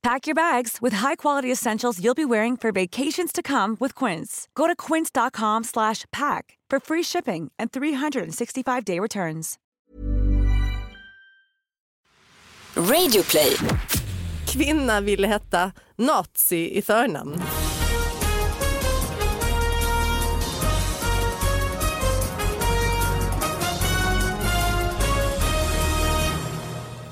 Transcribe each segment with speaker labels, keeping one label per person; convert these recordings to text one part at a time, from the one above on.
Speaker 1: Pack your bags with high-quality essentials you'll be wearing for vacations to come with Quince. Go to quince.com slash pack for free shipping and 365-day returns.
Speaker 2: Radio Play. Kvinna ville heta nazi i förnamn.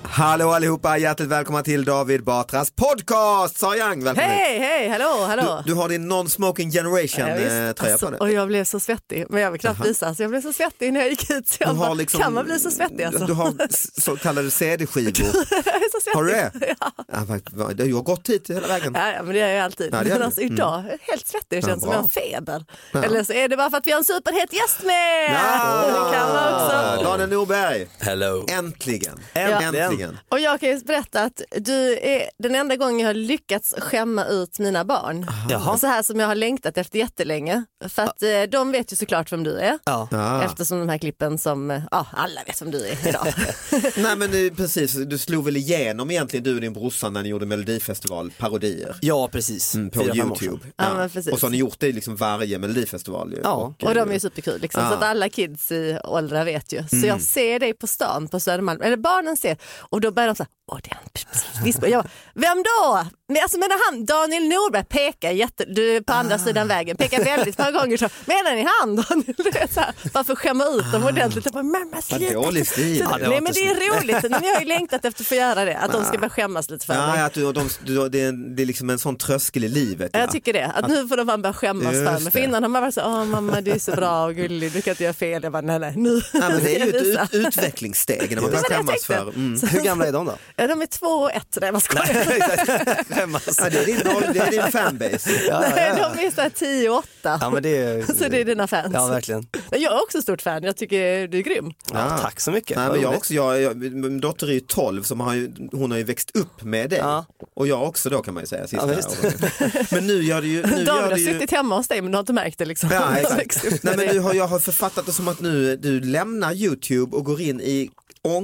Speaker 3: Hallå allihopa, hjärtligt välkomna till David Batras podcast! Sara Young, välkommen hit.
Speaker 2: Hej, hej, hallå, hallå.
Speaker 3: Du, du har din non-smoking generation
Speaker 2: Ja, visst.
Speaker 3: eh, tröja
Speaker 2: Alltså,
Speaker 3: på dig.
Speaker 2: Och jag blev så svettig, men jag vill knappt visa. Alltså, jag blev så svettig när jag gick hit. Så
Speaker 3: Du
Speaker 2: jag
Speaker 3: har
Speaker 2: bara,
Speaker 3: liksom-
Speaker 2: Kan man bli så svettig alltså?
Speaker 3: Du har s- så kallade CD-skivor.
Speaker 2: jag är så svettig.
Speaker 3: Har du det? Ja. vad- du har gått hit hela vägen.
Speaker 2: Ja, ja, men det gör jag alltid.
Speaker 3: Ja, det gör
Speaker 2: men
Speaker 3: du.
Speaker 2: alltså, idag, är jag helt svettig, det
Speaker 3: Ja,
Speaker 2: känns som jag har
Speaker 3: bra.
Speaker 2: feber. Eller så är det bara för att vi har en superhet gäst med.
Speaker 3: Ah,
Speaker 2: Det kan man också.
Speaker 3: Daniel Norberg,
Speaker 4: Hello.
Speaker 3: äntligen.
Speaker 4: Äntligen.
Speaker 3: äntligen.
Speaker 2: Och jag kan ju berätta att du är den enda gången jag har lyckats skämma ut mina barn.
Speaker 4: Jaha.
Speaker 2: Så här som jag har längtat efter jättelänge. För att eh, de vet ju såklart vem du är.
Speaker 4: Ja.
Speaker 2: Eftersom de här klippen som, eh, ja alla vet vem du är idag.
Speaker 3: Nej men eh, precis, du slog väl igenom egentligen du och din brorsa när ni gjorde Melodifestival-parodier.
Speaker 4: Ja, precis.
Speaker 3: Mm, På
Speaker 4: Fyra, fem år
Speaker 3: Youtube.
Speaker 4: sedan.
Speaker 2: Ja, men precis.
Speaker 3: Och så har ni gjort det liksom varje Melodifestival. ju.
Speaker 4: Ja.
Speaker 2: Och de
Speaker 3: eh,
Speaker 2: är ju superkul liksom,
Speaker 3: Ja. Mm.
Speaker 2: så att alla kids i åldrar vet ju. Så jag ser dig på stan på Södermalm, eller barnen ser, och då börjar de såhär, åh det är han, precis." Vispa. jag bara, vem då? Men alltså menar han, Daniel Norberg pekar jätte, du är på
Speaker 3: Ah.
Speaker 2: andra sidan vägen, pekar väldigt många gånger så, menar ni han Daniel? Det är så här, bara för att skämma ut dem ordentligt. Jag bara, mamma sluta.
Speaker 3: Ah. dålig stil.
Speaker 2: Så-
Speaker 3: Ja, det Ah.
Speaker 4: var
Speaker 2: Nej
Speaker 4: inte
Speaker 2: men det är roligt, men jag har ju längtat efter att få göra det, att de ska börja skämmas lite för mig.
Speaker 3: Ja, att du, de, du, det, är, en- det är liksom en sån tröskel i livet.
Speaker 2: Ja,
Speaker 3: ja.
Speaker 2: Jag tycker det, att nu får de fan börja skämmas
Speaker 3: Just
Speaker 2: för mig. För
Speaker 3: det.
Speaker 2: innan har man varit så, åh mamma du är så bra och gullig, du kan inte göra fel. Jag bara, nej nej, nu
Speaker 3: Ja, men
Speaker 2: ska
Speaker 3: det
Speaker 2: jag
Speaker 3: är ju ett
Speaker 2: visa."
Speaker 3: ut, utvecklingssteg när man
Speaker 2: Det var
Speaker 3: börjar
Speaker 2: det jag
Speaker 3: skämmas för.
Speaker 2: tänkte.
Speaker 3: Mm.
Speaker 4: Hur gamla är de då?
Speaker 2: Ja, de är två och ett, nej vad skojar
Speaker 4: Skämmas.
Speaker 3: Ja, det, är din, roll, det är din fanbase.
Speaker 4: Ja, ja,
Speaker 2: Nej,
Speaker 4: ja.
Speaker 2: de är såhär tio och åtta.
Speaker 4: ja, men det är...
Speaker 2: Så det är dina fans.
Speaker 4: Ja, verkligen.
Speaker 2: Men jag är också stort fan, jag tycker du är grym.
Speaker 4: Ja, tack så mycket.
Speaker 3: Ah. Nej,
Speaker 4: Vad
Speaker 3: men jag
Speaker 4: roligt.
Speaker 3: också, jag, jag, min dotter är ju 12 så man har ju, hon har ju växt upp med dig.
Speaker 4: Ja.
Speaker 3: Och jag också då kan man ju säga. Sista
Speaker 4: Ja, visst.
Speaker 3: åren. men nu gör det ju... Nu
Speaker 2: David
Speaker 3: gör
Speaker 2: har
Speaker 3: det ju
Speaker 2: suttit hemma hos dig men du har inte märkt det liksom.
Speaker 3: Ja,
Speaker 2: Jag växte upp
Speaker 3: exakt.
Speaker 2: med
Speaker 3: Nej, men
Speaker 2: det.
Speaker 3: nu har, jag har författat det som att nu du lämnar Youtube och går in i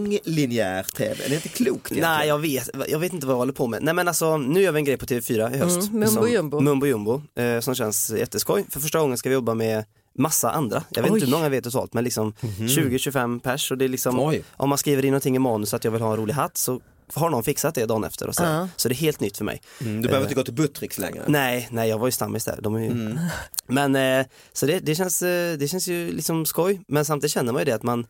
Speaker 3: ånglinjär tv. Det är inte klokt egentligen.
Speaker 4: Nej jag vet, jag vet inte vad jag håller på med. Nej men alltså nu gör vi en grej på TV4 i höst.
Speaker 2: Mm, mumbo
Speaker 4: som-
Speaker 2: jumbo.
Speaker 4: Mumbo jumbo, eh, som känns jätteskoj. För första gången ska vi jobba med massa andra. Jag vet inte hur många vi är totalt men liksom 20-25 pers och det är liksom
Speaker 3: Mhm. Oj.
Speaker 4: om man skriver in någonting i manus att jag vill ha en rolig hatt så har någon fixat det dagen efter och så. Så det är helt nytt för mig.
Speaker 3: Mm, du behöver inte gå till Buttricks längre.
Speaker 4: Nej, nej jag var ju stammis där. De är ju...
Speaker 3: Mm.
Speaker 4: Men eh, så det, det, känns, eh, det känns ju liksom skoj men samtidigt känner man ju det att man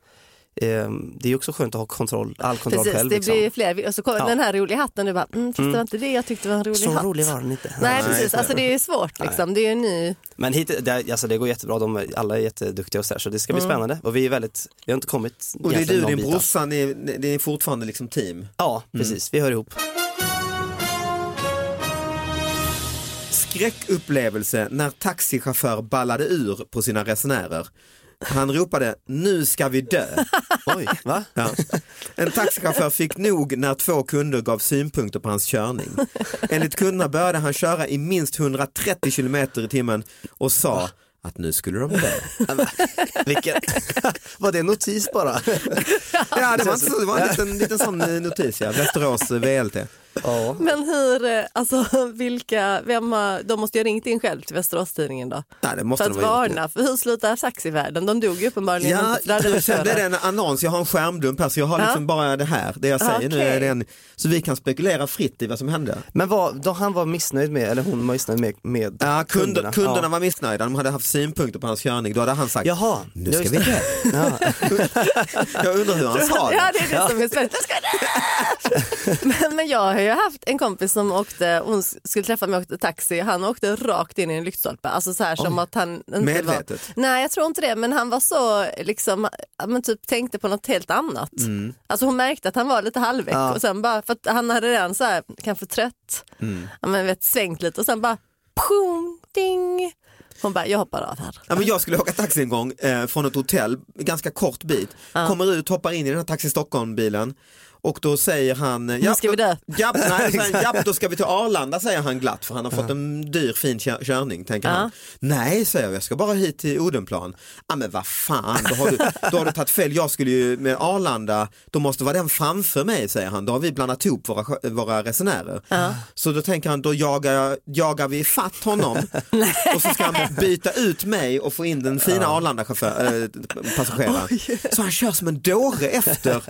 Speaker 4: eh, det är ju också skönt att ha kontroll, all kontroll
Speaker 2: Precis,
Speaker 4: själv.
Speaker 2: det
Speaker 4: liksom.
Speaker 2: blir fler. Och så kom
Speaker 4: Ja.
Speaker 2: den här roliga hatten, du bara, mm, fast det var inte det jag tyckte var en rolig
Speaker 4: Så
Speaker 2: hatt.
Speaker 4: rolig var den inte.
Speaker 2: Nej precis, alltså det är svårt liksom. Det är ju en ny
Speaker 4: Men hit, det, alltså det går jättebra, de, är- alla är jätteduktiga och så, här, så det ska bli spännande. Och vi är väldigt, vi har inte kommit
Speaker 3: Mm. Och det är
Speaker 4: egentligen
Speaker 3: du
Speaker 4: någon
Speaker 3: och din
Speaker 4: bit än.
Speaker 3: brorsa, ni, ni, ni är fortfarande liksom team.
Speaker 4: Ja, precis, vi hör ihop.
Speaker 3: Skräckupplevelse när taxichaufför ballade ur på sina resenärer. Han ropade nu ska vi dö.
Speaker 4: Oj, va?
Speaker 3: Ja. En taxichaufför fick nog när två kunder gav synpunkter på hans körning. Enligt kunderna började han köra i minst 130 kilometer i timmen och sa att nu skulle de dö.
Speaker 4: Vilken... Var det en notis bara?
Speaker 3: ja, det var, inte så, det var en liten, liten sån eh, notis, ja. Västerås eh, VLT.
Speaker 4: ja.
Speaker 2: Men hur, eh, alltså vilka, vem har, de måste ju ha ringt in själv till Västerås-Tidningen då?
Speaker 3: Nej, det måste
Speaker 2: för att
Speaker 3: de ha gjort nu.
Speaker 2: varna, för hur slutar taxivärlden? De dog ju uppenbarligen.
Speaker 3: Ja,
Speaker 2: Det hade varit
Speaker 3: sen
Speaker 2: svårare.
Speaker 3: blev det en annons, jag har en skärmdump här så jag har
Speaker 2: Ja.
Speaker 3: liksom bara det här, det jag säger nu
Speaker 2: Okej.
Speaker 3: är den, så vi kan spekulera fritt i vad som hände.
Speaker 4: Men vad, då han var missnöjd med, eller hon var missnöjd med, med
Speaker 3: Ja, kunder,
Speaker 4: kunderna?
Speaker 3: kunderna
Speaker 4: Ja.
Speaker 3: var missnöjda, de hade haft synpunkter på hans körning, då hade han sagt
Speaker 4: Jaha,
Speaker 3: nu
Speaker 4: ja,
Speaker 3: ska vi
Speaker 4: just
Speaker 3: dö. jag undrar hur han sa
Speaker 2: Ja,
Speaker 3: det.
Speaker 2: det är det som är spännande. Jag ska dö! men, men jag har ju haft en kompis som åkte, hon skulle träffa mig och åkte taxi, han åkte rakt in i en lyktstolpe. Alltså så här som att han inte
Speaker 3: medvetet?
Speaker 2: var... Nej, jag tror inte det, men han var så, liksom, ja, men typ tänkte på något helt annat.
Speaker 3: Mm.
Speaker 2: Alltså hon märkte att han var lite halvväck och sen bara, för att han hade redan så här, kanske trött,
Speaker 3: Mm.
Speaker 2: ja, men vet, svängt lite och sen bara, pum, ding. Hon bara, jag hoppar av här.
Speaker 3: Ja, men jag skulle åka taxi en gång eh, från ett hotell, ganska kort bit, kommer ut, hoppar in i den här Taxi Stockholm-bilen och då säger han, eh,
Speaker 2: ska vi dö."
Speaker 3: Japp, nej, då säger han, japp, då ska vi till Arlanda säger han glatt för han har fått en dyr fin kö- körning tänker han. Nej säger jag, jag ska bara hit till Odenplan. Ja men vad fan, då har, du, då har du tagit fel, jag skulle ju med Arlanda, då måste vara den framför mig säger han, då har vi blandat ihop våra, sjö- våra resenärer. Så då tänker han, då jagar, jag- jagar vi fatt honom och så ska han byta ut mig och få in den fina Arlanda-passageraren. Så han kör som en dåre efter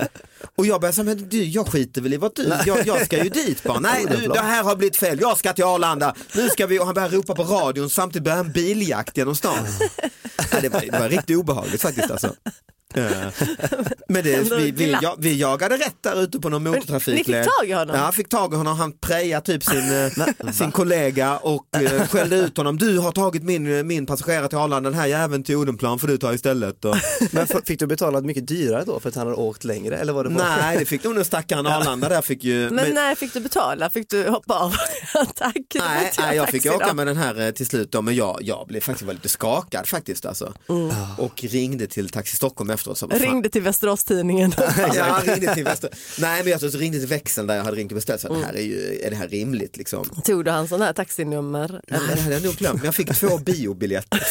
Speaker 3: och jag börjar säga, men du, jag skiter väl i vad du, jag, jag ska ju dit bara. Nej, du, det här har blivit fel, jag ska till Arlanda, nu ska vi, och han börjar ropa på radion, samtidigt börjar en biljakt genom stan. Ja, det, var, det var riktigt obehagligt faktiskt alltså. Eh, Men det, vi, vi, ja, vi jagade rätt där ute på någon motortrafikled.
Speaker 2: ni fick tag i honom?
Speaker 3: Ja, fick tag i honom, han prejade typ sin, eh, sin kollega och eh, skällde ut honom. Du har tagit min, eh, min passagerare till Arlanda, den här jäveln till Odenplan får du ta istället. Och,
Speaker 4: Men f- fick du betala mycket dyrare då för att han hade åkt längre? Eller var det bara...
Speaker 3: nej, det fick nog den stackaren Arlanda där fick ju.
Speaker 2: Men, när fick du betala? Fick du hoppa av? Tack, det var
Speaker 3: Nej,
Speaker 2: inte
Speaker 3: nej, jag fick
Speaker 2: taxi då.
Speaker 3: åka med den här eh, till slut då, men jag, jag blev faktiskt var lite skakad faktiskt alltså.
Speaker 2: Mm.
Speaker 3: Och ringde till Taxi Stockholm efteråt. Så, "Fan,
Speaker 2: Ringde till Västerås-Tidningen.
Speaker 3: Ja, han
Speaker 2: Alltså.
Speaker 3: ringde till Väster... Nej men jag så ringde till växeln där jag hade ringt och beställt. Så
Speaker 2: Mm.
Speaker 3: det här är, ju, är det här rimligt liksom?
Speaker 2: Tog du hans sån här taxinummer?
Speaker 3: Nej, det hade jag nog glömt. Men jag fick två biobiljetter.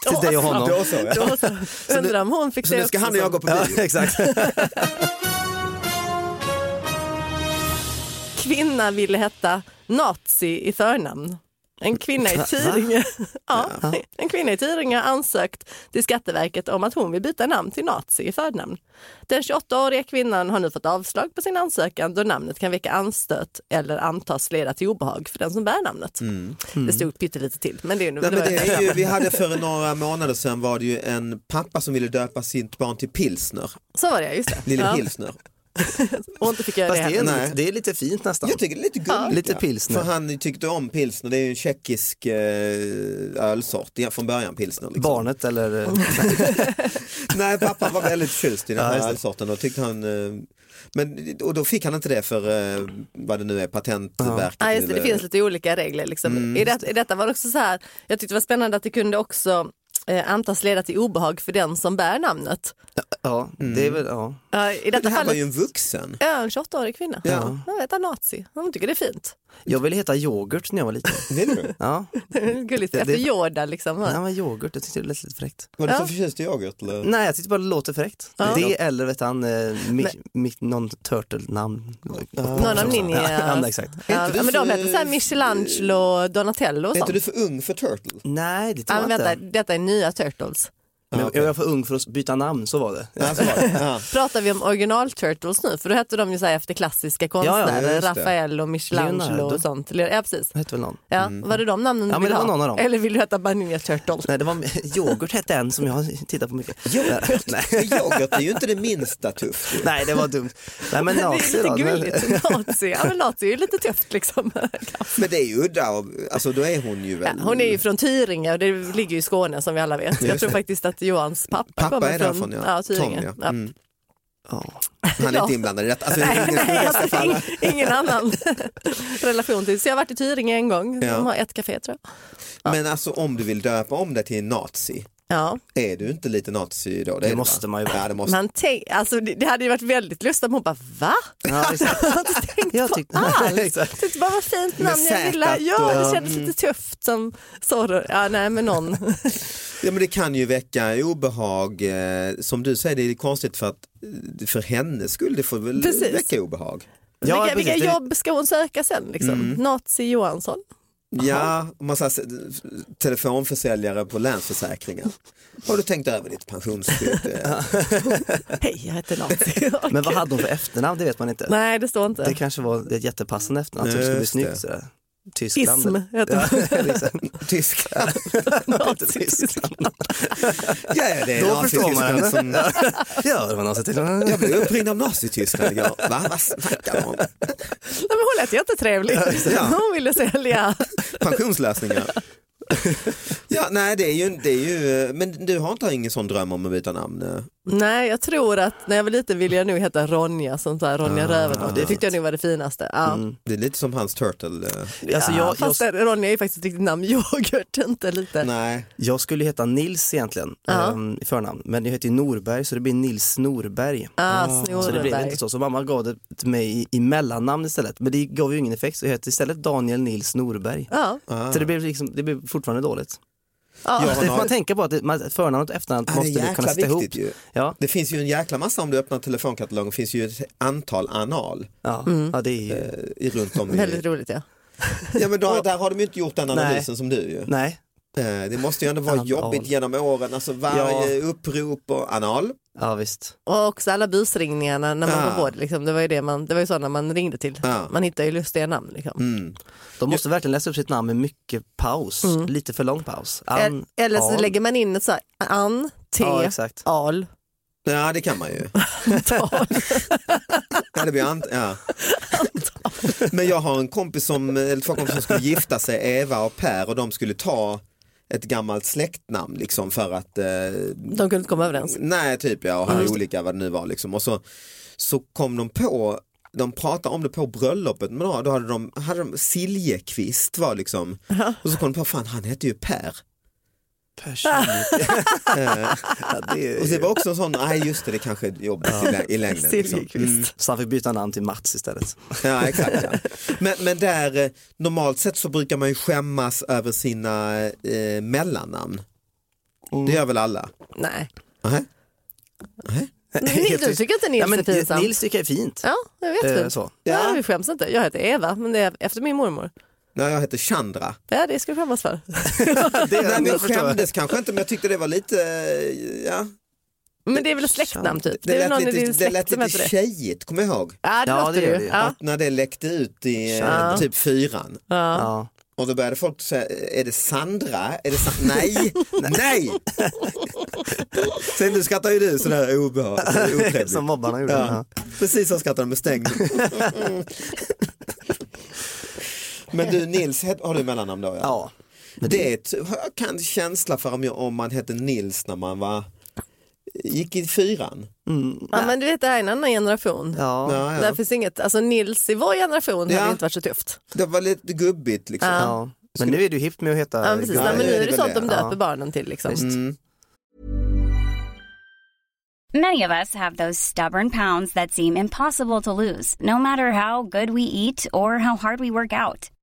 Speaker 4: Till dig och honom?
Speaker 3: Då så, ja.
Speaker 2: Då så, undrar om hon fick
Speaker 3: Så
Speaker 2: det
Speaker 3: nu ska
Speaker 2: också
Speaker 3: han och jag
Speaker 2: som-
Speaker 3: gå på
Speaker 4: Ja,
Speaker 3: bio.
Speaker 4: exakt.
Speaker 2: Kvinna ville heta nazi i förnamn. En kvinna i Tyringe ja, en kvinna i Tyringe har ansökt till Skatteverket om att hon vill byta namn till nazi i förnamn. Den 28-åriga kvinnan har nu fått avslag på sin ansökan då namnet kan väcka anstöt eller antas leda till obehag för den som bär namnet. Det stod pyttelite till, men det är ju...
Speaker 3: Mm. Nej,
Speaker 2: det
Speaker 3: men
Speaker 2: var ju-
Speaker 3: det är ju, vi hade för några månader sedan var det ju en pappa som ville döpa sitt barn till Pilsner,
Speaker 2: Så var det, just det.
Speaker 3: lille
Speaker 2: Ja,
Speaker 3: Pilsner.
Speaker 2: och inte fick göra
Speaker 4: Fast
Speaker 2: det
Speaker 4: det är,
Speaker 2: heller.
Speaker 3: Nej.
Speaker 4: lite, det är lite fint nästan.
Speaker 3: Jag tycker det är lite gulligt.
Speaker 4: Lite
Speaker 3: ja.
Speaker 4: pilsner.
Speaker 3: För han tyckte om pilsner, det är ju en tjeckisk eh, ölsort, ja, från början pilsner. Liksom.
Speaker 4: Barnet eller...
Speaker 3: Nej, pappa var väldigt förtjust i den
Speaker 4: Ja,
Speaker 3: här
Speaker 4: just det.
Speaker 3: ölsorten och tyckte han eh, men, och då fick han inte det för eh, vad det nu är, patentverket.
Speaker 2: Ja, just det, det
Speaker 3: eller- Mm,
Speaker 2: finns lite olika regler. Liksom. I, det, I detta var det också så här, jag tyckte det var spännande att det kunde också eh, antas leda till obehag för den som bär namnet.
Speaker 4: Ja,
Speaker 2: Mm.
Speaker 4: det är väl... Ja.
Speaker 2: Ja, I
Speaker 3: Det
Speaker 2: detta
Speaker 3: här var
Speaker 2: fallet,
Speaker 3: ju en vuxen.
Speaker 2: ja, en 28-årig kvinna.
Speaker 3: Ja.
Speaker 2: Hon heter nazi, hon tycker det är fint.
Speaker 4: Jag ville heta yoghurt när jag var liten.
Speaker 3: Vill du?
Speaker 4: Ja,
Speaker 2: Gulligt,
Speaker 4: Det- det-
Speaker 2: efter Yoda liksom.
Speaker 4: ja men yoghurt, jag tyckte det lät lite fräckt.
Speaker 3: Var du
Speaker 2: Ja.
Speaker 3: så förtjust i yoghurt? Eller?
Speaker 4: Nej, jag tyckte bara det låter fräckt. Det eller vet han, eh, mi, mi, någon turtle-namn.
Speaker 2: Någon av ninjas.
Speaker 4: Ja, nej, exakt.
Speaker 2: Ja,
Speaker 3: inte du
Speaker 2: men de
Speaker 3: för-
Speaker 2: heter så här Michelangelo, Donatello och
Speaker 3: Är inte du
Speaker 2: sånt.
Speaker 3: för ung för Turtle?
Speaker 4: Nej, det tror
Speaker 2: Ja, men
Speaker 4: jag
Speaker 2: vänta,
Speaker 4: inte.
Speaker 2: detta är nya Turtles.
Speaker 4: Men jag- Jag var för ung för att byta namn, så var det.
Speaker 3: Ja, så var det. Ja.
Speaker 2: Pratar vi om original Turtles nu? För då hette de ju så här efter klassiska konstnärer,
Speaker 3: just det.
Speaker 2: Rafael och Michelangelo
Speaker 4: Leonardo.
Speaker 2: och sånt. Ja, precis.
Speaker 4: Det hette väl någon.
Speaker 2: Ja, Var det de namnen
Speaker 4: Mm. Ja,
Speaker 2: du
Speaker 4: men
Speaker 2: ville
Speaker 4: det var
Speaker 2: ha?
Speaker 4: någon av dem.
Speaker 2: Eller vill du heta Baninja Turtle?
Speaker 4: Nej, det var yoghurt hette en som jag har tittat på mycket.
Speaker 3: Yoghurt, yoghurt är ju inte det minsta tufft. ju.
Speaker 4: Nej, det var dumt. Nej, men
Speaker 2: det
Speaker 4: nazi
Speaker 2: är
Speaker 4: då.
Speaker 2: lite
Speaker 4: Men,
Speaker 2: gulligt. Nazi. Ja, men nazi är ju lite tufft liksom.
Speaker 3: Men det är ju udda, och, alltså då är hon ju
Speaker 2: Ja,
Speaker 3: väl...
Speaker 2: hon är ju från Tyringe och det ligger ju i Skåne som vi alla vet. Jag tror faktiskt att Johans pappa,
Speaker 3: Pappa
Speaker 2: kommer
Speaker 3: är
Speaker 2: från
Speaker 3: därifrån, ja.
Speaker 2: Tyringe.
Speaker 3: Tom, ja.
Speaker 2: Ja.
Speaker 3: Mm.
Speaker 4: ja.
Speaker 3: Han är inte inblandad i detta. Alltså, det är ingen
Speaker 2: Nej,
Speaker 3: som ska
Speaker 2: alltså, ing,
Speaker 3: falla.
Speaker 2: ingen annan relation till. Så jag har varit i Tyringe en gång.
Speaker 3: Ja.
Speaker 2: De har ett café tror jag.
Speaker 3: Men alltså om du vill döpa om dig till en nazi,
Speaker 2: Ja.
Speaker 3: Är du inte lite nazi då? är
Speaker 4: Det
Speaker 3: du, va?
Speaker 4: måste man ju vara.
Speaker 3: Ja, det måste.
Speaker 2: Man tänk, alltså, det, det hade ju varit väldigt lustigt om hon bara va?
Speaker 4: Ja, exakt.
Speaker 2: Jag har inte tänkt
Speaker 4: Jag
Speaker 2: på
Speaker 4: tyckte-
Speaker 2: alls.
Speaker 4: Exakt.
Speaker 2: Jag tyckte bara vad fint
Speaker 3: Med
Speaker 2: namn jag
Speaker 3: Z
Speaker 2: gillar. Ja,
Speaker 3: och-
Speaker 2: det kändes
Speaker 4: Mm.
Speaker 2: lite tufft som Zorro. Ja, nej men någon.
Speaker 3: Ja, men det kan ju väcka obehag. eh, Som du säger, det är konstigt för att eh, för hennes skull, det får väl
Speaker 2: Precis.
Speaker 3: väcka obehag.
Speaker 4: Ja,
Speaker 2: Alltså, vilka, vilka
Speaker 4: precis. Det- Mm.
Speaker 2: jobb ska hon söka sen liksom? Nazi Johansson.
Speaker 3: Ja, om man säger telefonförsäljare på Länsförsäkringar. Har du tänkt över ditt pensionsskydd? Eh,
Speaker 2: Hej, jag heter Nazi. Okej.
Speaker 4: Men vad hade hon för efternamn? Det vet man inte.
Speaker 2: Nej, det står inte.
Speaker 4: Det kanske var ett jättepassande efternamn, att det skulle bli
Speaker 3: Just det.
Speaker 4: snyggt sådär. Tyskland.
Speaker 2: Ism heter
Speaker 4: Ja,
Speaker 2: hon.
Speaker 3: eh,
Speaker 4: liksom.
Speaker 3: Tyskland.
Speaker 4: Inte Tyskland.
Speaker 3: Ja, ja, det är
Speaker 4: Då förstår man
Speaker 3: nazityskland
Speaker 4: henne.
Speaker 3: som...
Speaker 4: Ja, det var någon som tänkte,
Speaker 3: Jag blev uppringd av Nazityskland igår. Va? Vad snackar de om?
Speaker 2: Nej, men hon lät jättetrevlig.
Speaker 3: Ja.
Speaker 2: Hon ville sälja.
Speaker 3: Pensionslösningar. Ja, nej, det är ju, det är ju, men du har inte ingen sån dröm om att byta namn? eh?
Speaker 2: Nej, jag tror att när jag var liten ville jag nog heta Ronja, som så här,
Speaker 4: Ah,
Speaker 2: Ronja Röven.
Speaker 3: ja, det är
Speaker 2: det tyckte jag nog var det finaste. Ja.
Speaker 3: Det är lite som hans Turtle. eh.
Speaker 2: Ja,
Speaker 4: alltså, Mm. jag, jag,
Speaker 2: fast Ronja är ju faktiskt ett riktigt namn, yoghurt inte lite.
Speaker 3: Nej,
Speaker 4: jag skulle heta Nils egentligen, ehm, i förnamn. Men jag heter ju Norberg så det blir Nils Norberg.
Speaker 2: Ah,
Speaker 4: Så det blev inte
Speaker 2: Snorberg.
Speaker 4: så, så mamma gav det till mig i, i mellannamn istället. Men det gav ju ingen effekt, så jag heter istället Daniel Nils Norberg.
Speaker 2: Ja,
Speaker 4: Så det blev, liksom, det blev fortfarande dåligt.
Speaker 2: ja.
Speaker 3: Ja.
Speaker 4: Alltså, Det får man tänka på, att det- man- förnamn och efternamn
Speaker 3: Ja, det är
Speaker 4: måste vi kunna
Speaker 3: jäkla
Speaker 4: sitta ihop.
Speaker 3: viktigt ju.
Speaker 4: Ja,
Speaker 3: det finns ju en jäkla massa om du öppnar telefonkatalogen, det finns ju ett antal anal
Speaker 4: ja,
Speaker 2: Mm.
Speaker 4: ja, det är ju...
Speaker 3: eh, i- runt om i...
Speaker 2: väldigt roligt ja.
Speaker 3: Ja, men då, där har de ju inte gjort den
Speaker 4: Nej.
Speaker 3: analysen som du ju.
Speaker 4: Nej,
Speaker 3: Eh, Det måste ju ändå vara
Speaker 4: Anal.
Speaker 3: jobbigt genom åren, alltså varje upprop och anal.
Speaker 4: ja visst.
Speaker 2: Och också alla busringningarna när man
Speaker 3: Ja.
Speaker 2: var på det, liksom, det var ju det man, det var ju sådana man ringde till.
Speaker 3: Ja. Mm.
Speaker 2: Man hittar ju lustiga namn. Liksom.
Speaker 4: De måste verkligen läsa upp sitt namn med mycket paus, lite för lång paus. Ann,
Speaker 2: E- Mm. Eller så
Speaker 4: Al.
Speaker 2: lägger man in ett så här, Ann, T,
Speaker 4: Ja, exakt.
Speaker 2: Al,
Speaker 3: Ja, det kan man ju.
Speaker 2: Tal.
Speaker 3: Ja, det blir ant- ja. Men jag har en kompis som, eller två kompisar som skulle gifta sig, Eva och Per, och de skulle ta ett gammalt släktnamn liksom för att eh,
Speaker 2: De kunde inte komma överens.
Speaker 3: Nej, typ ja, och hade olika vad det nu var liksom. Och så, så kom de på, de pratade om det på bröllopet, men då, då hade de, hade de Siljekvist var liksom, och så kom de på, fan han hette ju Per. Och det var också en sån, nej just det, det kanske är jobbigt i, lä- i längden. Liksom. Mm.
Speaker 2: Silverkvist.
Speaker 4: Mm. Så han fick byta namn till Mats istället.
Speaker 3: Ja, exakt, ja. Men, men där, eh, normalt sett så brukar man ju skämmas över sina eh, mellannamn. Det gör väl alla?
Speaker 2: Nej.
Speaker 3: Nej.
Speaker 2: Ni- Du tycker inte Nils
Speaker 4: ja, men,
Speaker 2: är pinsam?
Speaker 4: Nils tycker jag är fint.
Speaker 2: Ja, det är jättefint.
Speaker 4: Eh, så.
Speaker 2: Ja.
Speaker 3: Ja.
Speaker 2: vi skäms inte. Jag heter Eva, men det är efter min mormor.
Speaker 3: Nej, jag heter Chandra.
Speaker 2: Ja, det ska vi skämmas för.
Speaker 4: Det,
Speaker 3: Nej, men
Speaker 4: det
Speaker 3: jag
Speaker 4: förstår jag.
Speaker 3: skämdes kanske inte men jag tyckte det var lite, eh, ja.
Speaker 2: Men det är väl ett släktnamn typ? Det,
Speaker 3: Det,
Speaker 2: är väl någon
Speaker 3: lät
Speaker 2: i din
Speaker 3: lite, det
Speaker 2: släkt
Speaker 3: lät
Speaker 2: som heter
Speaker 3: lite
Speaker 2: det?
Speaker 3: tjejigt, kommer jag ihåg?
Speaker 2: Ja, det
Speaker 4: Ja,
Speaker 2: låter
Speaker 4: det gör
Speaker 2: det
Speaker 4: det
Speaker 2: ju.
Speaker 4: ju.
Speaker 2: Ja.
Speaker 3: Att när det läckte ut i eh,
Speaker 4: Ja.
Speaker 3: typ fyran.
Speaker 2: Ja.
Speaker 4: Ja.
Speaker 3: Och då började folk säga, är det Sandra? Är det Sa Nej, nej! Sen nu skrattar ju du sådär obehagligt, otrevligt.
Speaker 4: Som mobbarna gjorde.
Speaker 3: Ja. Precis som skrattar de med stängd. Men du Nils, het- har du mellannamn då? Ja.
Speaker 4: Ja.
Speaker 3: Det är ett, har jag kan känsla för om, jag, om man hette Nils när man var, gick i fyran.
Speaker 2: ja, men du vet det här är en annan generation.
Speaker 4: Ja.
Speaker 3: Ja, ja.
Speaker 2: Där finns inget, alltså Nils i vår generation
Speaker 3: Ja.
Speaker 2: hade inte varit så tufft.
Speaker 3: Det var lite gubbigt liksom.
Speaker 4: Ja. Men nu är du hippt med att heta
Speaker 2: Ja, men precis.
Speaker 3: ja,
Speaker 2: Nej, men nu
Speaker 3: det
Speaker 2: är
Speaker 3: är
Speaker 2: det
Speaker 3: väl
Speaker 2: sånt
Speaker 3: det.
Speaker 2: de döper
Speaker 4: Ja.
Speaker 2: barnen till liksom.
Speaker 4: Visst.
Speaker 3: Mm.
Speaker 5: Many of us have those stubborn pounds that seem impossible to lose, no matter how good we eat or how hard we work out.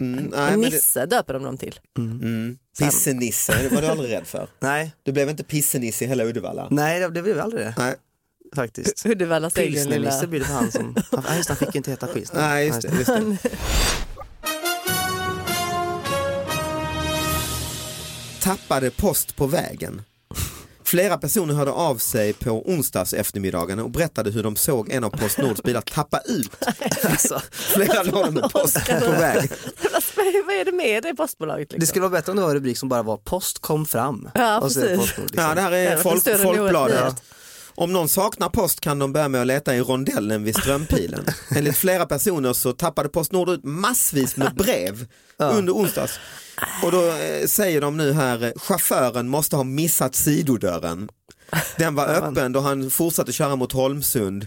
Speaker 3: Mm, nej, men det,
Speaker 2: Nisse döper de dem till.
Speaker 3: mm, pissenisse, det var du aldrig rädd för.
Speaker 4: Nej.
Speaker 3: Du blev inte pissenisse i hela Uddevalla?
Speaker 4: Nej, det, det blev aldrig det.
Speaker 3: Nej.
Speaker 4: faktiskt.
Speaker 2: Uddevallas egen
Speaker 4: Pilsner-Nisse
Speaker 2: lilla...
Speaker 4: blir det för han som, han, ja, just, det, han fick ju inte heta pilsner.
Speaker 3: Nej, just det. Just det. Tappade post på vägen. Flera personer hörde av sig på onsdags eftermiddagen och berättade hur de såg en av Postnords bilar tappa ut.
Speaker 4: Alltså,
Speaker 3: Flera lådor med post på vägen.
Speaker 2: Vad är det med det postbolaget? Liksom?
Speaker 4: det skulle vara bättre om det var en rubrik som bara var post kom fram.
Speaker 2: Ja,
Speaker 4: och så är det
Speaker 2: precis.
Speaker 4: Postnord, liksom.
Speaker 3: Ja, det här
Speaker 2: Det
Speaker 3: är
Speaker 2: är
Speaker 3: folk,
Speaker 2: större än
Speaker 3: Folkbladet.
Speaker 2: orättvist.
Speaker 3: Om någon saknar post kan de börja med att leta i rondellen vid Strömpilen. Enligt flera personer så tappade Postnord ut massvis med brev under onsdags. Och då eh, säger de nu här, eh, chauffören måste ha missat sidodörren. Den var öppen då han fortsatte köra mot Holmsund.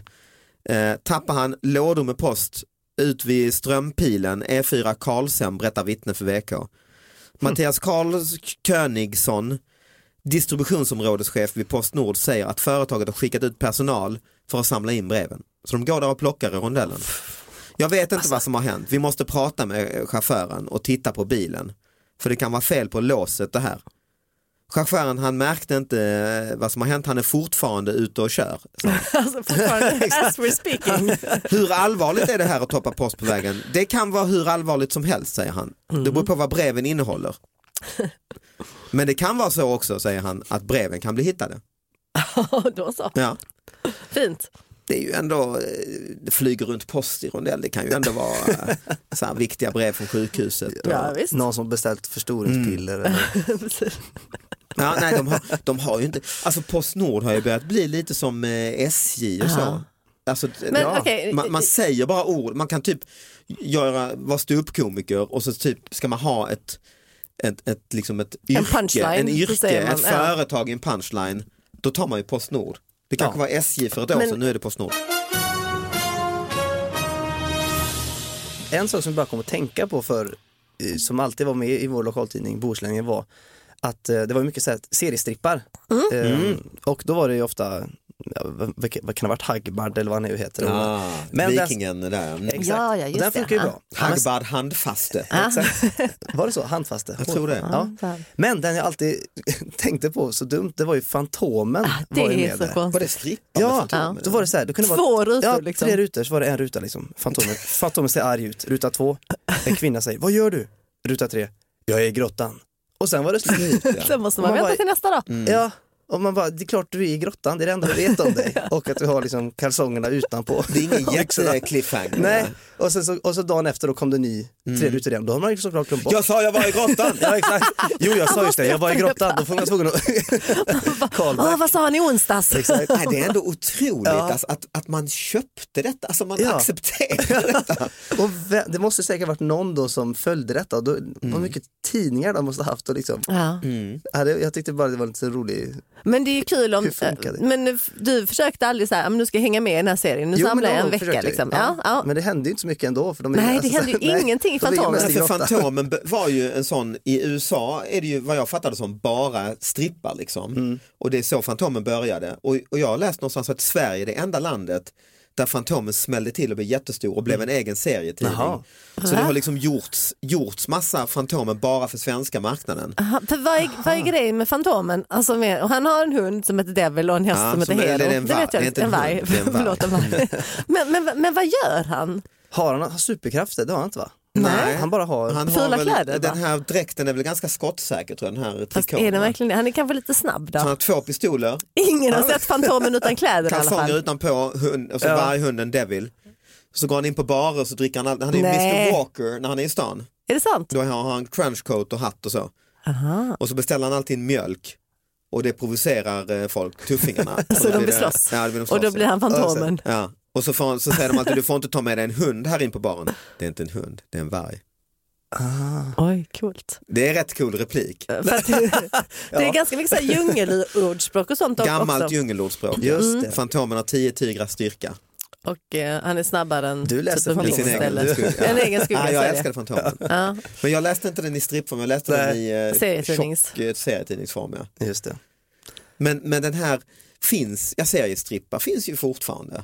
Speaker 3: Eh, tappade han lådor med post ut vid Strömpilen, E4 Karlshem, berättar vittne för VK. Mattias Karl Königsson, distributionsområdeschef vid Postnord, säger att företaget har skickat ut personal för att samla in breven. Så de går där och plockar i rondellen. Jag vet inte vad som har hänt. Vi måste prata med eh, chauffören och titta på bilen. För det kan vara fel på låset det här. Chauffören han märkte inte eh, vad som har hänt, han är fortfarande ute och kör. sa han.
Speaker 2: Alltså, fortfarande, as we're speaking.
Speaker 3: Hur allvarligt är det här att toppa post på vägen? Det kan vara hur allvarligt som helst säger han. Det beror på vad breven innehåller. Men det kan vara så också säger han att breven kan bli hittade.
Speaker 2: Ja, Då så,
Speaker 3: Ja.
Speaker 2: fint.
Speaker 3: Det är ju ändå, eh, det flyger runt post i rondell, det kan ju ändå vara eh, så här viktiga brev från sjukhuset. Och,
Speaker 2: Ja, visst.
Speaker 4: Någon som beställt
Speaker 3: Mm.
Speaker 4: förstoringspiller. Eller,
Speaker 2: Precis.
Speaker 3: Ja, nej, de, har, de har ju inte, alltså Postnord har ju börjat bli lite som eh, SJ och så. Alltså,
Speaker 2: Men,
Speaker 3: ja,
Speaker 2: okej.
Speaker 3: man, man säger bara ord, man kan typ göra, vara ståuppkomiker och så typ ska man ha ett, ett, ett, liksom ett yrke,
Speaker 2: punchline,
Speaker 3: en
Speaker 2: så
Speaker 3: yrke
Speaker 2: säger man,
Speaker 3: ett
Speaker 2: ja.
Speaker 3: företag i en punchline, då tar man ju Postnord. Det kanske var SJ för ett år
Speaker 2: Men-
Speaker 3: sedan, nu är det Postnord.
Speaker 4: en sak som jag bara kom att tänka på för, eh, som alltid var med i vår lokaltidning Bohuslänningen var att eh, det var mycket så här, seriestrippar.
Speaker 3: Mm.
Speaker 4: Ehm, och då var det ju ofta, ja, vad, vad kan det ha varit, Hagbard eller vad han nu heter.
Speaker 3: Men
Speaker 4: den-
Speaker 3: Vikingen där, mm.
Speaker 4: Exakt.
Speaker 2: Ja, ja, just
Speaker 4: den
Speaker 2: det.
Speaker 4: funkar
Speaker 2: Ja.
Speaker 4: ju bra.
Speaker 3: Hagbard handfaste.
Speaker 4: Exakt. Var det så? Handfaste?
Speaker 3: Jag tror det.
Speaker 4: Ja. Men den jag alltid tänkte på så dumt, det var ju Fantomen.
Speaker 2: Ah, det
Speaker 4: var ju
Speaker 2: är
Speaker 4: med
Speaker 2: så
Speaker 4: där.
Speaker 2: konstigt.
Speaker 3: Var det strippan? med
Speaker 4: Ja,
Speaker 3: Fantomen?
Speaker 4: då var det så här, då kunde det
Speaker 2: Två
Speaker 4: vara,
Speaker 2: rutor,
Speaker 4: ja,
Speaker 2: liksom.
Speaker 4: tre rutor, så var det en ruta liksom. Fantomen, Fantomen ser arg ut, ruta två, en kvinna säger, vad gör du? Ruta tre, jag är i grottan. Och sen var det slut.
Speaker 2: Sen måste man,
Speaker 4: Man
Speaker 2: vänta
Speaker 4: bara- Mm.
Speaker 2: till nästa dag.
Speaker 4: Ja, och man bara, det är klart du är i grottan, det är det enda vi vet om dig. Och att du har liksom kalsongerna utanpå.
Speaker 3: Det är ingen
Speaker 4: Byxorna.
Speaker 3: jättecliffhanger.
Speaker 4: Nej, och sen så, och så dagen efter då kom det ny
Speaker 2: Mm.
Speaker 4: tre rutor igen, då har man ju såklart glömt bort.
Speaker 3: Jag sa jag var i grottan!
Speaker 4: Ja exakt. Jo jag sa just det, jag var i grottan, då får man tvungen att... Karlberg.
Speaker 2: Åh, vad sa han i onsdags?
Speaker 3: Nej, det är ändå otroligt alltså, att, att man köpte detta, alltså man
Speaker 4: Ja.
Speaker 3: accepterade detta.
Speaker 4: Och vä- det måste säkert varit någon då som följde detta, då, vad mycket tidningar de måste ha haft och liksom.
Speaker 2: Ja.
Speaker 4: Ja, det, jag tyckte bara det var en lite rolig,
Speaker 2: Men det är ju kul om,
Speaker 4: Hur funkar det?
Speaker 2: men eh, du försökte aldrig så här, "Ah, men nu ska jag hänga med i den här serien, nu
Speaker 4: Jo,
Speaker 2: samlar
Speaker 4: men
Speaker 2: jag
Speaker 4: då
Speaker 2: en vecka.
Speaker 4: försökte jag ju.
Speaker 2: Liksom.
Speaker 4: Ja.
Speaker 2: Ja, ja.
Speaker 4: Men det hände ju inte så mycket ändå. För de är, alltså,
Speaker 2: Nej, det hände ju
Speaker 4: nej,
Speaker 2: ingenting i
Speaker 4: de ligger
Speaker 2: Fantomen.
Speaker 4: mest i
Speaker 3: För
Speaker 4: grottan.
Speaker 3: Fantomen b- var ju en sån, i USA är det ju vad jag fattade som bara strippar liksom.
Speaker 4: Mm.
Speaker 3: Och det är så Fantomen började. Och, och jag har läst någonstans att Sverige är det enda landet där Fantomen smällde till och blev jättestor och blev en egen serietidning.
Speaker 4: Mm. Jaha.
Speaker 3: Så det har liksom gjorts, gjorts massa Fantomen bara för svenska marknaden.
Speaker 2: Aha, för vad, är, vad är grejen med Fantomen? Alltså med, och han har en hund som heter Devil och en häst
Speaker 3: Ja,
Speaker 2: som heter
Speaker 3: som är-
Speaker 2: Hero.
Speaker 3: eller en
Speaker 2: Det
Speaker 3: varg.
Speaker 2: vet jag,
Speaker 3: Det är inte en
Speaker 2: varg.
Speaker 3: hund, det är en varg.
Speaker 2: Förlåt, en varg. men, men, men vad gör han?
Speaker 4: Har han har superkrafter? Det har han inte va?
Speaker 3: Nej.
Speaker 4: Han bara har...
Speaker 3: Han
Speaker 2: Fula
Speaker 3: väl,
Speaker 2: kläder,
Speaker 3: den
Speaker 2: va?
Speaker 3: här dräkten är väl ganska skottsäker tror jag, den här
Speaker 2: Fast
Speaker 3: trikån.
Speaker 2: är den
Speaker 3: va?
Speaker 2: verkligen det? Han är kanske lite snabb
Speaker 3: Han
Speaker 2: då.
Speaker 3: har två pistoler,
Speaker 2: Ingen har sett Fantomen utan kläder i alla fall.
Speaker 3: kalsonger utanpå hund, och så varje hund en devil. Så går han in på barer och så dricker han, all- han är ju
Speaker 2: Nej.
Speaker 3: Mr Walker när han är i stan.
Speaker 2: Är det sant?
Speaker 3: Då har han trenchcoat och hatt och så. Och så beställer han alltid mjölk och det provocerar eh, folk, tuffingarna. Och
Speaker 2: Så de
Speaker 3: då blir
Speaker 2: vill
Speaker 3: det-
Speaker 2: slåss.
Speaker 3: Ja, det blir de
Speaker 2: och då
Speaker 3: slåss,
Speaker 2: blir
Speaker 3: ja.
Speaker 2: han Fantomen.
Speaker 3: Ja. Och så, får, han- så säger de alltid du får inte ta med dig en hund här in på baren. Det är inte en hund, det är en varg. Mm.
Speaker 2: Oj, coolt.
Speaker 3: Det är rätt cool replik.
Speaker 2: För att, det är ganska mycket så här djungelordspråk och sånt
Speaker 3: Gammalt
Speaker 2: också.
Speaker 3: djungelordspråk.
Speaker 4: Just det.
Speaker 3: Fantomen har tio tigrars styrka.
Speaker 2: Och eh, han är snabbare än typ
Speaker 4: Du läste
Speaker 2: en
Speaker 4: Fantomen.
Speaker 3: I sin egen
Speaker 2: egen
Speaker 3: skugga.
Speaker 2: skugga. En egen
Speaker 3: Ja, jag
Speaker 2: skugga.
Speaker 3: älskade Fantomen.
Speaker 2: Ja.
Speaker 3: Men jag läste inte den i strippform, jag läste den i eh,
Speaker 2: Serietidnings.
Speaker 3: tjock, eh, serietidningsform. Ja.
Speaker 4: Just det.
Speaker 3: Men, men den här finns, jag seriestrippar finns ju fortfarande.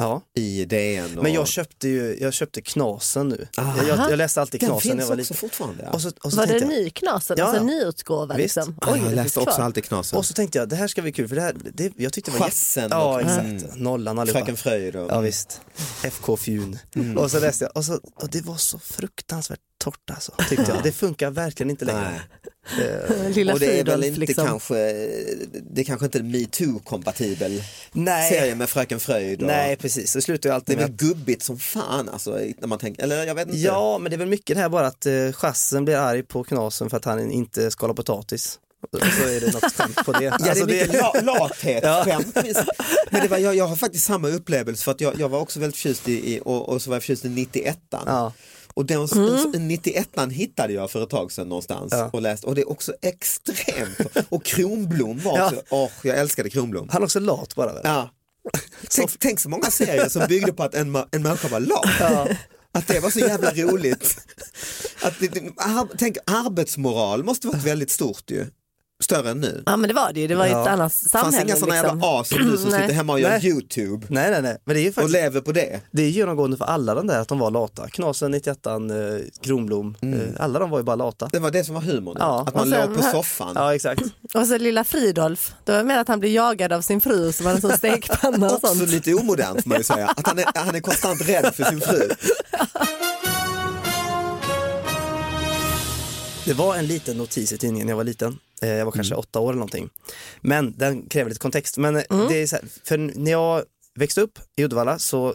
Speaker 4: Ja.
Speaker 3: i DN. Och...
Speaker 4: Men jag köpte ju, jag köpte Knasen nu. Jag, jag, jag läste alltid
Speaker 3: Den
Speaker 4: Knasen när
Speaker 3: finns
Speaker 4: jag var
Speaker 3: också
Speaker 4: liten.
Speaker 3: fortfarande, ja.
Speaker 4: Och så, och så
Speaker 2: Var det
Speaker 4: tänkte
Speaker 2: en
Speaker 4: jag-
Speaker 2: ny Knasen?
Speaker 4: Ja,
Speaker 2: Alltså en
Speaker 4: ja.
Speaker 2: nyutgåva
Speaker 4: Visst.
Speaker 2: liksom?
Speaker 4: Ja,
Speaker 2: Oj,
Speaker 3: jag
Speaker 2: det
Speaker 3: läste
Speaker 2: finns
Speaker 3: också
Speaker 2: kvar.
Speaker 3: alltid Knasen.
Speaker 4: Och så tänkte jag, det här ska bli kul för det här, det, jag tyckte det var
Speaker 3: Chassen
Speaker 4: jätte- Ja
Speaker 3: och-
Speaker 4: exakt, nollan allihopa.
Speaker 3: Fröken Mm. Fröjd och-
Speaker 4: Ja visst, FK Fjun. Och så läste jag, och, så, och det var så fruktansvärt torrt alltså, tyckte jag. Det funkar verkligen inte längre.
Speaker 3: Nej.
Speaker 2: Lilla
Speaker 3: och det är väl
Speaker 2: Fridolf,
Speaker 3: inte
Speaker 2: liksom.
Speaker 3: kanske, Eh, det är kanske inte en metoo-kompatibel
Speaker 4: Nej.
Speaker 3: serie med Fröken Fröjd. Och...
Speaker 4: Nej precis, det slutar ju
Speaker 3: Det
Speaker 4: alltid
Speaker 3: är
Speaker 4: med
Speaker 3: väl gubbigt som fan alltså, när man tänker, eller jag vet inte.
Speaker 4: Ja, men det är väl mycket det här bara att eh, chassen blir arg på knasen för att han inte skalar potatis. Och så är det något skämt på det.
Speaker 3: Ja,
Speaker 4: Alltså,
Speaker 3: det är mycket la-
Speaker 4: Ja.
Speaker 3: lathetskämt. Men det var, jag, jag har faktiskt samma upplevelse för att jag, jag var också väldigt förtjust i, i och, och så var jag förtjust i 91
Speaker 4: Ja.
Speaker 3: Och den mm. 91 hittade jag för ett tag sedan någonstans och läste och det är också extremt. Och Kronblom var
Speaker 4: Ja.
Speaker 3: också, åh jag älskade Kronblom.
Speaker 4: Han är också lat bara väl?
Speaker 3: Ja. Tänk, tänk så många serier som byggde på att en, ma- en människa var lat. Att det var så jävla roligt. Att det, det, ar, tänk, arbetsmoral måste varit väldigt stort ju. Större än nu.
Speaker 2: Ja men det var det ju, det var ju ett annat
Speaker 3: Det fanns
Speaker 2: samhälle.
Speaker 3: inga sådana
Speaker 2: liksom.
Speaker 3: jävla as som du som
Speaker 2: Nej.
Speaker 3: sitter hemma och gör
Speaker 4: Nej.
Speaker 3: YouTube
Speaker 4: Nej, nej, nej, men det är ju
Speaker 3: och
Speaker 4: faktiskt
Speaker 3: lever på det.
Speaker 4: det är genomgående för alla de där att de var lata. Knasen, 91 eh, Kronblom, eh, alla de var ju bara lata.
Speaker 3: Det var det som var humorn,
Speaker 4: Ja.
Speaker 3: Mm. att man
Speaker 2: Och sen
Speaker 3: låg på
Speaker 2: här-
Speaker 3: soffan.
Speaker 4: Ja, exakt.
Speaker 2: Och så lilla Fridolf, det var mer att han blev jagad av sin fru som hade en sån stekpanna och
Speaker 3: Också
Speaker 2: sånt.
Speaker 3: lite omodernt får man ju säga, att han är, han är konstant rädd för sin fru.
Speaker 4: Det var en liten notis i tidningen när jag var liten. Eh, Jag var kanske
Speaker 3: Mm.
Speaker 4: åtta år eller någonting. Men den kräver lite kontext. Men eh,
Speaker 2: Mm.
Speaker 4: det är så här, för när jag växte upp i Uddevalla så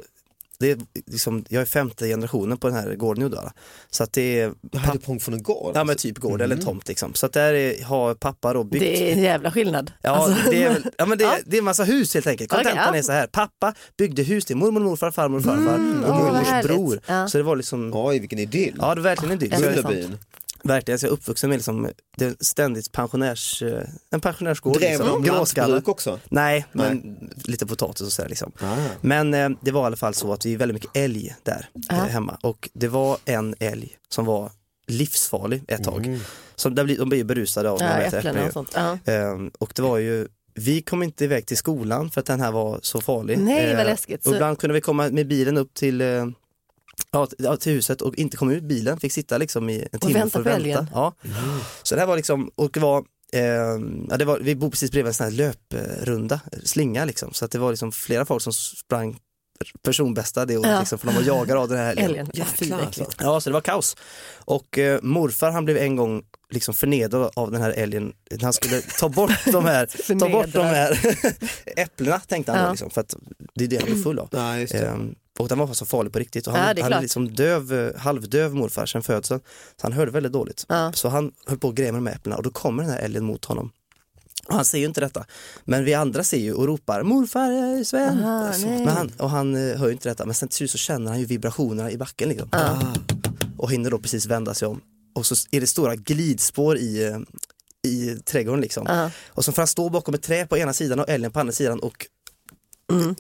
Speaker 4: det är liksom, jag är femte generationen på den här gården i Uddevalla. Så att det är
Speaker 3: Jag hade prång från en gård.
Speaker 4: ja, men typ gård eller
Speaker 3: Mm.
Speaker 4: tomt liksom. Så att där är, har pappa då byggt
Speaker 2: Det är en jävla skillnad.
Speaker 4: Ja,
Speaker 2: Alltså,
Speaker 4: det, är, väl- ja, men det, är- det är en massa hus helt enkelt.
Speaker 2: Okej,
Speaker 4: Kontentan
Speaker 2: ja.
Speaker 4: är så här, pappa byggde hus till mormor, morfar, farmor, farfar och
Speaker 2: Mm, åh, vad
Speaker 4: mormors
Speaker 2: härligt.
Speaker 4: bror.
Speaker 2: Ja.
Speaker 4: Så det var liksom,
Speaker 3: Alltså, Oj, vilken idyll.
Speaker 4: ja det var verkligen en dyr. Så jag-
Speaker 3: Bullerbyn.
Speaker 4: Verkligen, så jag är uppvuxen med liksom, det är ständigt pensionärs, eh, en pensionärsgård.
Speaker 3: Drev
Speaker 4: liksom.
Speaker 3: de
Speaker 4: Gråskallar.
Speaker 3: lantbruk också?
Speaker 4: Nej, men lite potatis och sådär liksom.
Speaker 3: Ah.
Speaker 4: Men eh, det var i alla fall så att vi är väldigt mycket älg där
Speaker 2: Ah.
Speaker 4: eh, hemma och det var en älg som var livsfarlig ett tag.
Speaker 3: Mm.
Speaker 4: Som, där blir, de blir ju berusade av när
Speaker 2: Ja,
Speaker 4: de äter
Speaker 2: äpplen
Speaker 4: äpple ju.
Speaker 2: och sånt. Ja.
Speaker 4: Ehm, och det var ju, vi kom inte iväg till skolan för att den här var så farlig.
Speaker 2: Nej, vad
Speaker 4: Ehm,
Speaker 2: läskigt.
Speaker 4: Och
Speaker 2: Så-
Speaker 4: ibland kunde vi komma med bilen upp till, eh, ja, t- ja, till huset och inte komma ut bilen, fick sitta liksom i en timme
Speaker 2: vänta
Speaker 4: för att
Speaker 2: på
Speaker 4: vänta.
Speaker 2: älgen.
Speaker 4: Ja. Så det här var liksom, och det var, ehm, ja, det var, vi bor precis bredvid en sån här löprunda, slinga liksom, så att det var liksom flera folk som sprang personbästa det året
Speaker 2: Ja.
Speaker 4: liksom, för de var jagade av den här älgen.
Speaker 2: Älgen, ja, fy vad äckligt.
Speaker 4: Ja, så det var kaos. Och eh, morfar han blev en gång liksom förnedrad av den här älgen. Han skulle ta bort de här, ta bort de här äpplena tänkte han då,
Speaker 2: Ja.
Speaker 4: liksom, för att det är det han blev full av.
Speaker 3: Ja, just det.
Speaker 4: Ehm, och den var så farlig på riktigt och
Speaker 2: Ja, det
Speaker 4: han
Speaker 2: är
Speaker 4: hade
Speaker 2: klart.
Speaker 4: liksom döv, eh, halvdöv morfar sedan födseln. Så han hörde väldigt dåligt. Så han höll på och grejade med de här äpplena och då kommer den här älgen mot honom. Och han ser ju inte detta. Men vi andra ser ju och ropar morfar eh, Sven. Så- men han, och han eh, hör ju inte detta. Men sen till slut så känner han ju vibrationerna i backen liksom. Och hinner då precis vända sig om. Och så är det stora glidspår i, eh, i trädgården liksom. Och så får han stå bakom ett träd på ena sidan och älgen på andra sidan och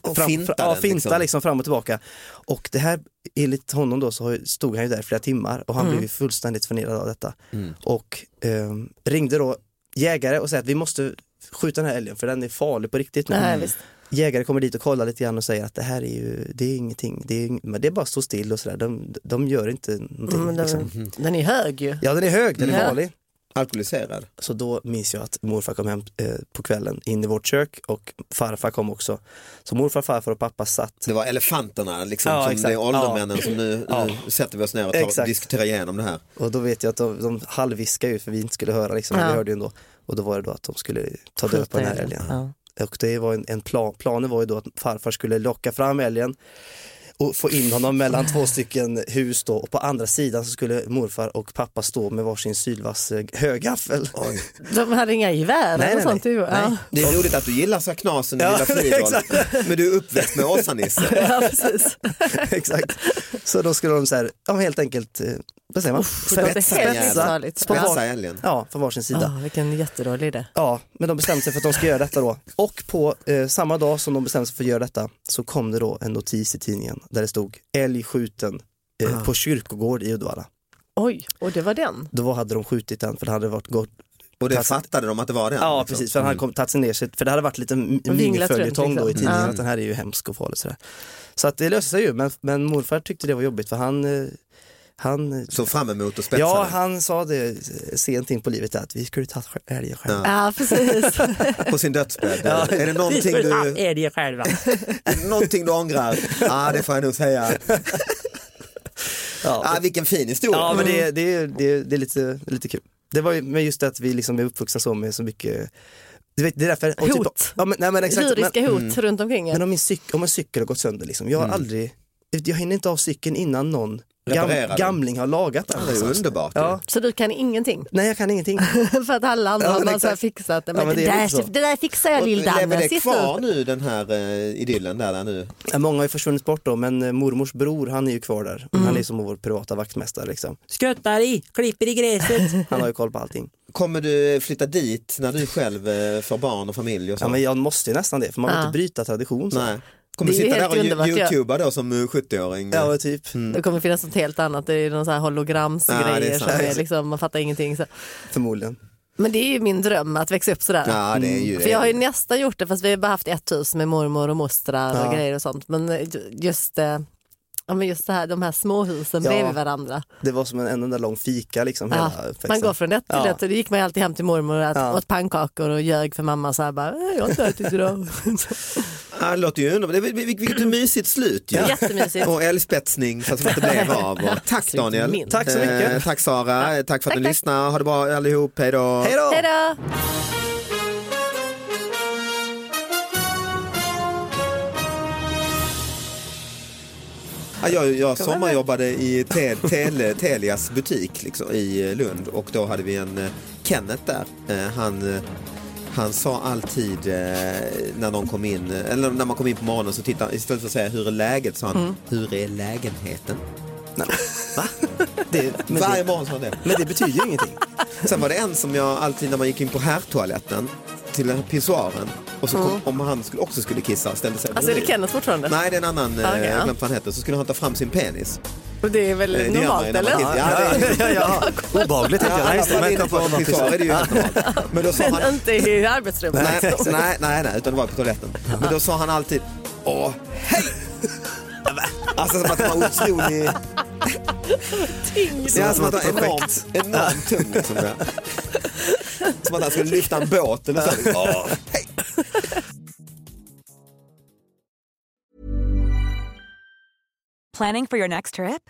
Speaker 3: Och
Speaker 4: fram,
Speaker 3: finta
Speaker 4: ja,
Speaker 3: den,
Speaker 4: finta liksom. fram och tillbaka. Och det här, enligt honom då så har- stod han ju där i flera timmar och han blev ju fullständigt förnedrad av detta.
Speaker 3: Mm.
Speaker 4: Och ehm, ringde då jägare och sa att vi måste skjuta den här älgen för den är farlig på riktigt nu.
Speaker 2: Nej, visst.
Speaker 4: Jägare kommer dit och kollar lite grann och säger att det här är ju, det är ingenting, det är, ing- men det är bara att stå still och sådär, de, de gör inte någonting.
Speaker 2: Men
Speaker 4: liksom.
Speaker 2: den, den är hög ju.
Speaker 4: Ja den är hög, den är
Speaker 2: Mm, Ja.
Speaker 4: farlig.
Speaker 3: Alkoholiserad.
Speaker 4: Så då minns jag att morfar kom hem eh, på kvällen in i vårt kök och farfar kom också. Så morfar, farfar och pappa satt
Speaker 3: Det var elefanterna liksom,
Speaker 4: Ja,
Speaker 3: som
Speaker 4: exakt.
Speaker 3: det är åldermännen som nu,
Speaker 4: Ja.
Speaker 3: nu sätter vi oss ner och tar,
Speaker 4: Exakt.
Speaker 3: diskuterar igenom det här.
Speaker 4: Och då vet jag att de, de halvviskade ju för vi inte skulle höra liksom, men
Speaker 2: Ja.
Speaker 4: vi hörde ju ändå. Och då var det då att de skulle ta död på den här
Speaker 2: Skjuta
Speaker 4: älgen.
Speaker 2: Ja.
Speaker 4: Och det var en, en plan, planen var ju då att farfar skulle locka fram älgen och få in honom mellan två stycken hus då och på andra sidan så skulle morfar och pappa stå med varsin sylvass eh, högaffel.
Speaker 2: De hade inga gevär
Speaker 4: Nej,
Speaker 2: eller
Speaker 4: nej,
Speaker 2: sånt.
Speaker 4: nej.
Speaker 2: ju. Ja.
Speaker 4: Nej.
Speaker 3: Det är roligt att du gillar så här knasen och
Speaker 4: Ja,
Speaker 3: gillar Fridolf,
Speaker 4: exakt.
Speaker 3: men du är uppväxt med Åsa-Nisse.
Speaker 2: Ja, precis.
Speaker 4: Exakt. Så då skulle de så här, ja, men helt enkelt, eh, vad säger man?
Speaker 2: det låter
Speaker 4: Spetsa-
Speaker 2: helt
Speaker 4: spetsa
Speaker 2: otroligt.
Speaker 4: på var-
Speaker 3: Spetsa älgen.
Speaker 4: Ja, på varsin sida.
Speaker 2: Ah, vilken jättedålig idé.
Speaker 4: Ja, men de bestämde sig för att de ska göra detta då. Och på eh, samma dag som de bestämde sig för att göra detta så kom det då en notis i tidningen där det stod älg skjuten eh, på kyrkogård i Uddevalla.
Speaker 2: Oj, och det var den.
Speaker 4: Då hade de skjutit den för det hade varit gott
Speaker 3: Och det
Speaker 4: tagit-
Speaker 3: fattade de att det var den?
Speaker 4: Ja
Speaker 3: liksom.
Speaker 4: precis, för han hade kommit- tagit sig ner sig, för det hade varit lite m-
Speaker 2: runt,
Speaker 4: miniföljetong då i
Speaker 2: liksom.
Speaker 4: tidningen
Speaker 2: Ja.
Speaker 4: att den här är ju hemsk och farlig sådär. Så att det löste sig ju, men, men morfar tyckte det var jobbigt för han, eh, han eh,
Speaker 3: Såg fram emot och spetsade?
Speaker 4: Ja, han sa det eh, sent in på livet att vi skulle ta älgen själva.
Speaker 2: Ja, precis.
Speaker 3: På sin dödsbädd? Är det någonting du,
Speaker 4: älgen själva.
Speaker 3: är det någonting du ångrar? Ja, ah, det får jag nog säga.
Speaker 4: Ja,
Speaker 3: Ah, vilken fin historia.
Speaker 4: ja men det, det, det, det är lite, lite kul. Det var ju men just det att vi liksom är uppvuxna så med så mycket, du vet, det är därför. och typ-
Speaker 2: Hot.
Speaker 4: ja, men, nej, men exakt, men,
Speaker 2: Juridiska hot runt omkring
Speaker 4: men
Speaker 2: en.
Speaker 4: om, min cyk, om en cykel har gått sönder liksom, jag har aldrig, jag hinner inte av cykeln innan någon gam,
Speaker 3: Reparera den.
Speaker 4: gamling har lagat den.
Speaker 3: Det är ju underbart.
Speaker 4: Ja.
Speaker 2: Så du kan ingenting?
Speaker 4: Nej jag kan ingenting.
Speaker 2: För att alla andra
Speaker 4: Ja,
Speaker 2: har
Speaker 4: men
Speaker 2: bara så här
Speaker 4: exakt.
Speaker 2: fixat det.
Speaker 4: Ja,
Speaker 2: Men
Speaker 4: men
Speaker 2: det,
Speaker 4: det är
Speaker 2: där,
Speaker 4: lite så.
Speaker 2: det där fixar jag
Speaker 3: Och Lever
Speaker 2: lill-Danne.
Speaker 3: det
Speaker 2: Sitt
Speaker 3: kvar
Speaker 2: upp.
Speaker 3: nu den här eh, idyllen där, där nu?
Speaker 4: Ja, Många har ju försvunnit bort då men eh, mormors bror han är ju kvar där. Han är som vår privata vaktmästare liksom. Mm. Skuttar i, klipper i gräset. Han har ju koll på allting.
Speaker 3: Kommer du flytta dit när du själv eh, får barn och familj och så?
Speaker 4: Ja men jag måste ju nästan det för man vill
Speaker 2: Ja.
Speaker 4: inte bryta tradition. Så.
Speaker 3: Nej. Kommer du
Speaker 2: Det är ju
Speaker 3: sitta där
Speaker 2: helt
Speaker 3: och
Speaker 2: underbart,
Speaker 3: ju-
Speaker 2: ja.
Speaker 3: youtuba då som eh, 70-åring?
Speaker 4: Ja men typ.
Speaker 3: Mm.
Speaker 2: Det kommer finnas något helt annat. Det är ju någon sån här
Speaker 3: Ja, det är
Speaker 2: hologramsgrejer som
Speaker 3: sant.
Speaker 2: är liksom, man fattar ingenting. Så.
Speaker 4: Förmodligen.
Speaker 2: Men det är ju min dröm att växa upp sådär.
Speaker 3: Ja, det är ju
Speaker 2: För jag har ju nästan gjort det fast vi har bara haft ett hus med mormor och mostrar och grejer och sånt. Men eh, ju- just, eh, ja, men just det här, de här småhusen
Speaker 4: Ja.
Speaker 2: bredvid varandra.
Speaker 4: Det var som en, en enda lång fika liksom.
Speaker 2: Ja,
Speaker 4: hela uppväxten.
Speaker 2: man går från ett till
Speaker 4: Ja.
Speaker 2: ett och det gick man ju alltid hem till mormor och ät,
Speaker 4: Ja.
Speaker 2: åt pannkakor och ljög för mamma så här bara, "Eh, jag har inte ätit idag.
Speaker 3: Ja, det låter ju underbart. Det- vil- vil- Vilket mysigt slut ju.
Speaker 2: Jättemysigt.
Speaker 3: Och älgspetsning fast som inte blev av. Och tack
Speaker 2: Absolut
Speaker 3: Daniel.
Speaker 2: minst.
Speaker 4: Tack så mycket.
Speaker 3: Eh, tack Sara. Tack för att ni
Speaker 2: tack.
Speaker 3: lyssnade. Ha det bra allihop. Hej då.
Speaker 4: Hej då!
Speaker 2: Hej då!
Speaker 3: Ja, jag, jag sommarjobbade i te, tele, Telias butik liksom, i Lund och då hade vi en eh, Kenneth där. Eh, Han, eh, han sa alltid eh, när, någon kom in, eh, eller när man kom in på morgonen så tittade han, istället för att säga hur är läget, sa han hur är lägenheten?
Speaker 4: Mm. Nej, men, va? Det, men,
Speaker 3: Varje
Speaker 4: det,
Speaker 3: morgon sa han det.
Speaker 4: men det betyder ju ingenting.
Speaker 3: Sen var det en som jag alltid när man gick in på herrtoaletten till den här pissoaren och så kom,
Speaker 4: Mm.
Speaker 3: om han skulle, också skulle kissa ställde sig
Speaker 2: Alltså är det
Speaker 3: bredvid.
Speaker 2: Kenneth fortfarande?
Speaker 3: Nej, det är en annan, eh,
Speaker 2: Okej, ja.
Speaker 3: jag har glömt vad han heter, så skulle han ta fram sin penis.
Speaker 2: Och det är
Speaker 3: Eh,
Speaker 2: väl
Speaker 3: det gör man
Speaker 2: normalt
Speaker 3: ju när man
Speaker 2: eller?
Speaker 3: kissar. Ja, det är-
Speaker 4: ja, ja. Obehagligt tänkte jag. Nej, just det,
Speaker 3: alla
Speaker 4: men
Speaker 3: fall inne
Speaker 4: jag kan få
Speaker 3: på
Speaker 4: någonting.
Speaker 3: pissoar är det ju helt normalt. Men då sa han,
Speaker 2: Men inte i arbetsrummet.
Speaker 3: nej, nej, nej, nej, utan det var på toaletten. Men då sa han alltid, åh hej! Alltså som att det var otrolig... Ja, som att det var enormt, enormt tung liksom. Ja. Som att han skulle lyfta en båt eller så. Åh, hej!
Speaker 1: Planning for your next trip?